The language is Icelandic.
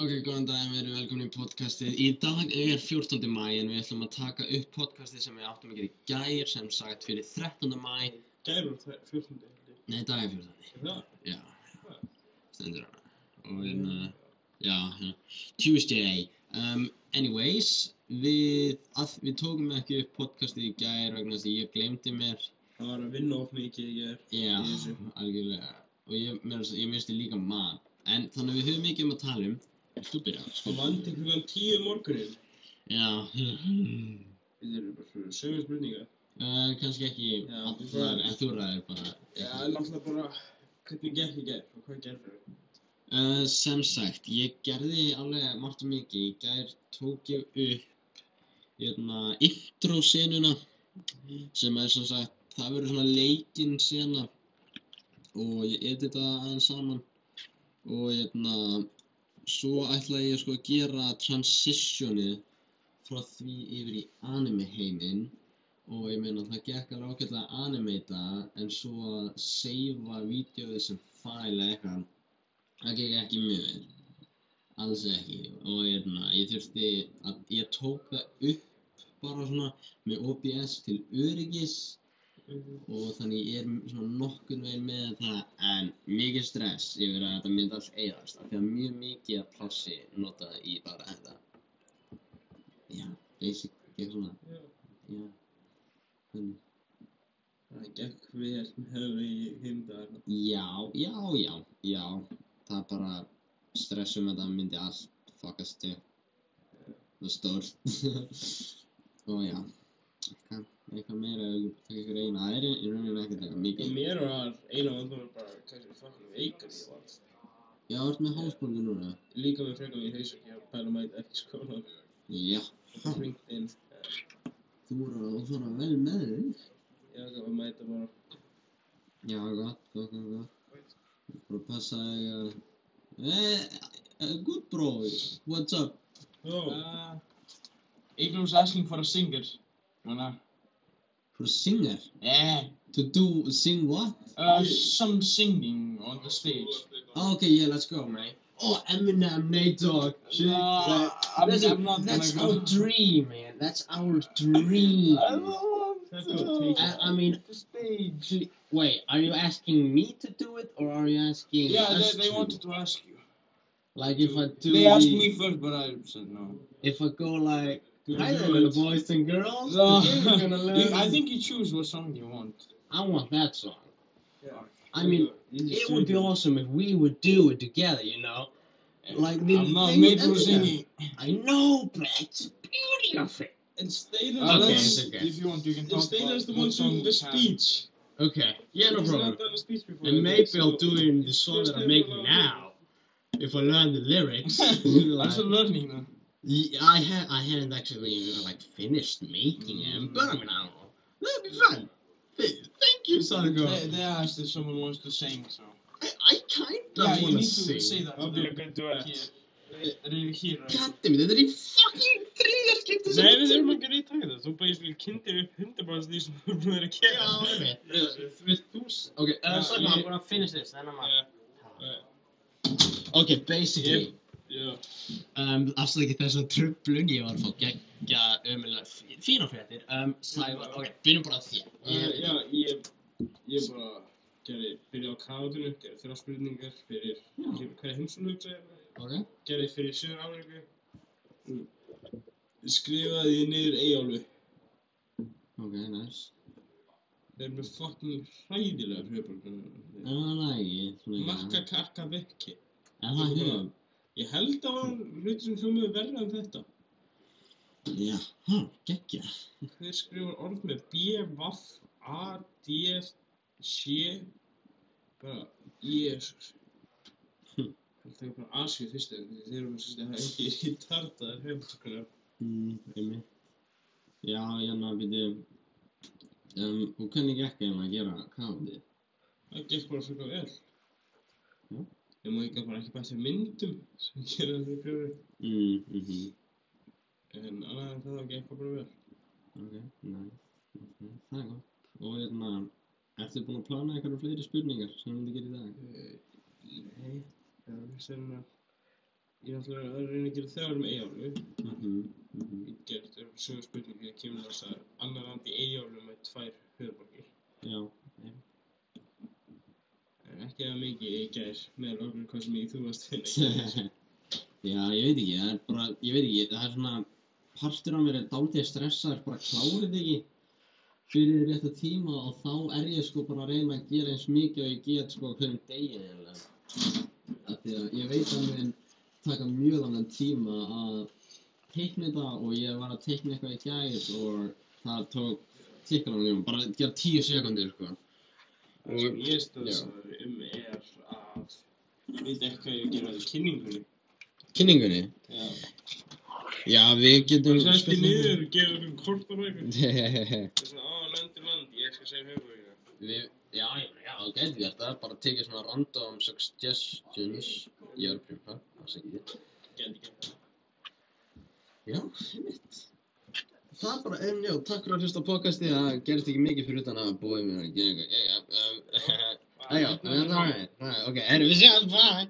Ok, góðan dag, við erum velkomin í podcastið. Í dag er 14. mæ en við ætlum að taka upp podcastið sem við áttum að gera í gær sem sagt fyrir 13. mæ. Gærum 14. heldur. Nei, dag er 14. Er það? Já, stendur hana. Og hérna, já, hérna, Tuesday. Um, anyways, við, að, við tókum ekki upp podcastið í gær vegna þess að ég glemdi mér. Það var að vinna of mikið í gær. Já, Jesú. algjörlega. Og ég, mér, ég misti líka mat. En þannig að við höfum mikið um að tala um. Þú byrjar. Það vandi klukkan 10 um morgunin. Já. Þetta eru bara svona sögur spurningar. Uh, kannski ekki Já, þú allar, ræður. en þú ræðir bara Já, það er náttúrulega bara hvernig gekk í gær og hvað gerður þau? uh, Sem sagt, ég gerði alveg margt og mikið Í gær tók ég upp hérna, intro senuna sem er sem sagt, það verður svona leikinn sena og ég edita aðeins saman og hérna svo ætla ég sko að gera transitionið frá því yfir í anime heiminn og ég meina það gekk alveg ágætlega að animata en svo að seifa vídeoið sem fæl eða eitthvað það gekk ekki mjög vel alls ekki og hérna ég þurfti að ég tók það upp bara svona með OBS til öryggis og þannig ég er svona nokkun veginn með það en mikið stress yfir að þetta myndi allt eigast af því að mjög mikið af plássi notað í bara þetta já, basic, gekk svona Já. já, þannig Það gekk vel með höfðu í hinn dagarna. Já, já, já, já, það er bara stressum að það myndi allt fuckast upp, það er stórt, og já, eitthvað, eitthvað meira, ef við taka ykkur eina, það er í rauninni ekkert eitthvað Og mikið. mér var eina vandum bara kannski fucking veikar ég var. Já, ertu með hálsbólgu núna? Líka með frekar í hausverk, ég var pæla mæt eftir skóla. Já, Það ringt inn. þú voru að fara vel með þig. Ég var að mæta bara. Já, gott, gott, gott, gott. Bara passa þig að, eh, eh, good bro, what's up? Jó, Uh, Ah. Abram was asking for a singer. Wanna? For singer, "Eh." Yeah. to do, sing what? Uh, some singing on the stage. Oh, okay, yeah, let's go, man. Oh, Eminem, Nate Dogg. Shit. Nah, I'm, that's I'm not that's gonna our go. dream, man. That's our dream. I want That's gonna take I, to I mean, the stage. actually, wait, are you asking me to do it or are you asking? Yeah, us they, they to? wanted to ask you. Like if I do. They asked the- me first, but I said no. If I go like. Good Hi there, lord. little boys and girls. No. Today we're gonna learn. You- I think you choose what song you want. I want that song. Yeah. I mean, it would be awesome if we would do it together, you know. Like the I'm not thing made for is- singing. I know, but it's beauty of it. And Stayler's Uh, Okay, let's- it's okay. If you want, you can And talk. Stayler's about the what one song doing the you have. speech. Okay, yeah, no He's not problem. done a speech before. And maybe I'll so- do it in the song that I'm making now. If I learn the lyrics. I'm still like, learning them. Yeah, I ha- I hadn't actually even, like finished making them, but I mean I don't know. That'd be fun. Th- thank you, Sonico. They, they asked if someone wants to sing, so. I, I kind of Yeah, you want need to to say sing. that. That'll to be a them. good duet. Here. They- they hear us. God damn it, þetta er í fucking þriðja skipti Nei, við erum ekki í tæða. Þú basically kynntir upp 100% því sem þú búið að Já, gera. einmitt. Við þú... s- Ok, Oh, uh, Já, Sonico, I'm ég- gonna finish this, then I'm out. Já. Ok, basically. Já. Um, afsakið þessum tröflun, ég var að fá geggja ömulega fína fréttir. Um, Sævar, ok, byrjum bara á þér. Uh, Já, ég, ég bara gerði, byrjaði á káðinu, gerði þrjá spurningar fyrir Já. hverja heimsóknut segir maður. Ok. gerði fyrir Sjöður Afríku. Mm. Skrifaði ég niður Eyjálfu. Ok, nice. Þeir eru með fucking hræðilega höfbólgar. En það er ekki, svona ekki. Makka kakka vekki. En það er höfum. Ég held að hann hluti sem hljómaði verra en um þetta. Já, hæ, geggja. Hver skrifar orð með B, Vaff, A, D, C, E, bara Jesus. Hm. Það taka bara Asíu fyrst eða þeir eru með sérst að það er ekki tartaðar höfnarkunar. Mm, einmitt. Já, hérna, býti. Um, og hvernig gekk hérna að gera káði? Það gekk bara fyrir hvað vel. Já. Ég má ekki bara ekki bæta myndum sem gera þessari fjóri. Mm, mhm. En annað en það það gekk bara vel. Ok, nice. Okay, það er gott. Og hérna, ertu búin að plana eitthvað fleiri spurningar sem þú myndir gera í dag? Eh, Nei, það er sem að ég Ég ætla að reyna að gera þegar um eigjálfu. Mhm, mhm. Ég gerði þér sögur spurningu ég kemur þess að annar landi eigjálfu með tvær höfuborgir. Já, En ekki það mikið ég gær með okkur hvað sem ég þú varst finna. Já, ég veit ekki, það er bara, ég veit ekki, það er svona, partur á mér er dálítið stressaður, bara klárið ekki fyrir rétt að tíma og þá er ég sko bara að reyna að gera eins mikið og ég get sko á hverjum degi eiginlega. Af því að ég veit að mér taka mjög langan tíma að teikna þetta og ég var að teikna eitthvað í gæð og það tók tikkur langan tíma, bara að gera tíu sekundir sko. Það sem ég stöðsar um er að veit ekki hvað ég að gera í kynningunni. Kynningunni? Já. Já, við Þú getum... sætti niður og gefur um kort á bækur. niður. Það er svona, á, landi, landi, ég skal segja um höfuborgina. Við, já, já, já, þú gæti gert það, bara tekið svona random suggestions Ég er að prjumpa, það sé ekki þitt Gæti ekki það. Já, einmitt Það er bara, en já, takk fyrir að hlusta á podcasti Það gerist ekki mikið fyrir utan að Eh, búið mér að gera eitthvað Já, já, um, já, já, það er alright, alright, ok, erum eh, við séð, bye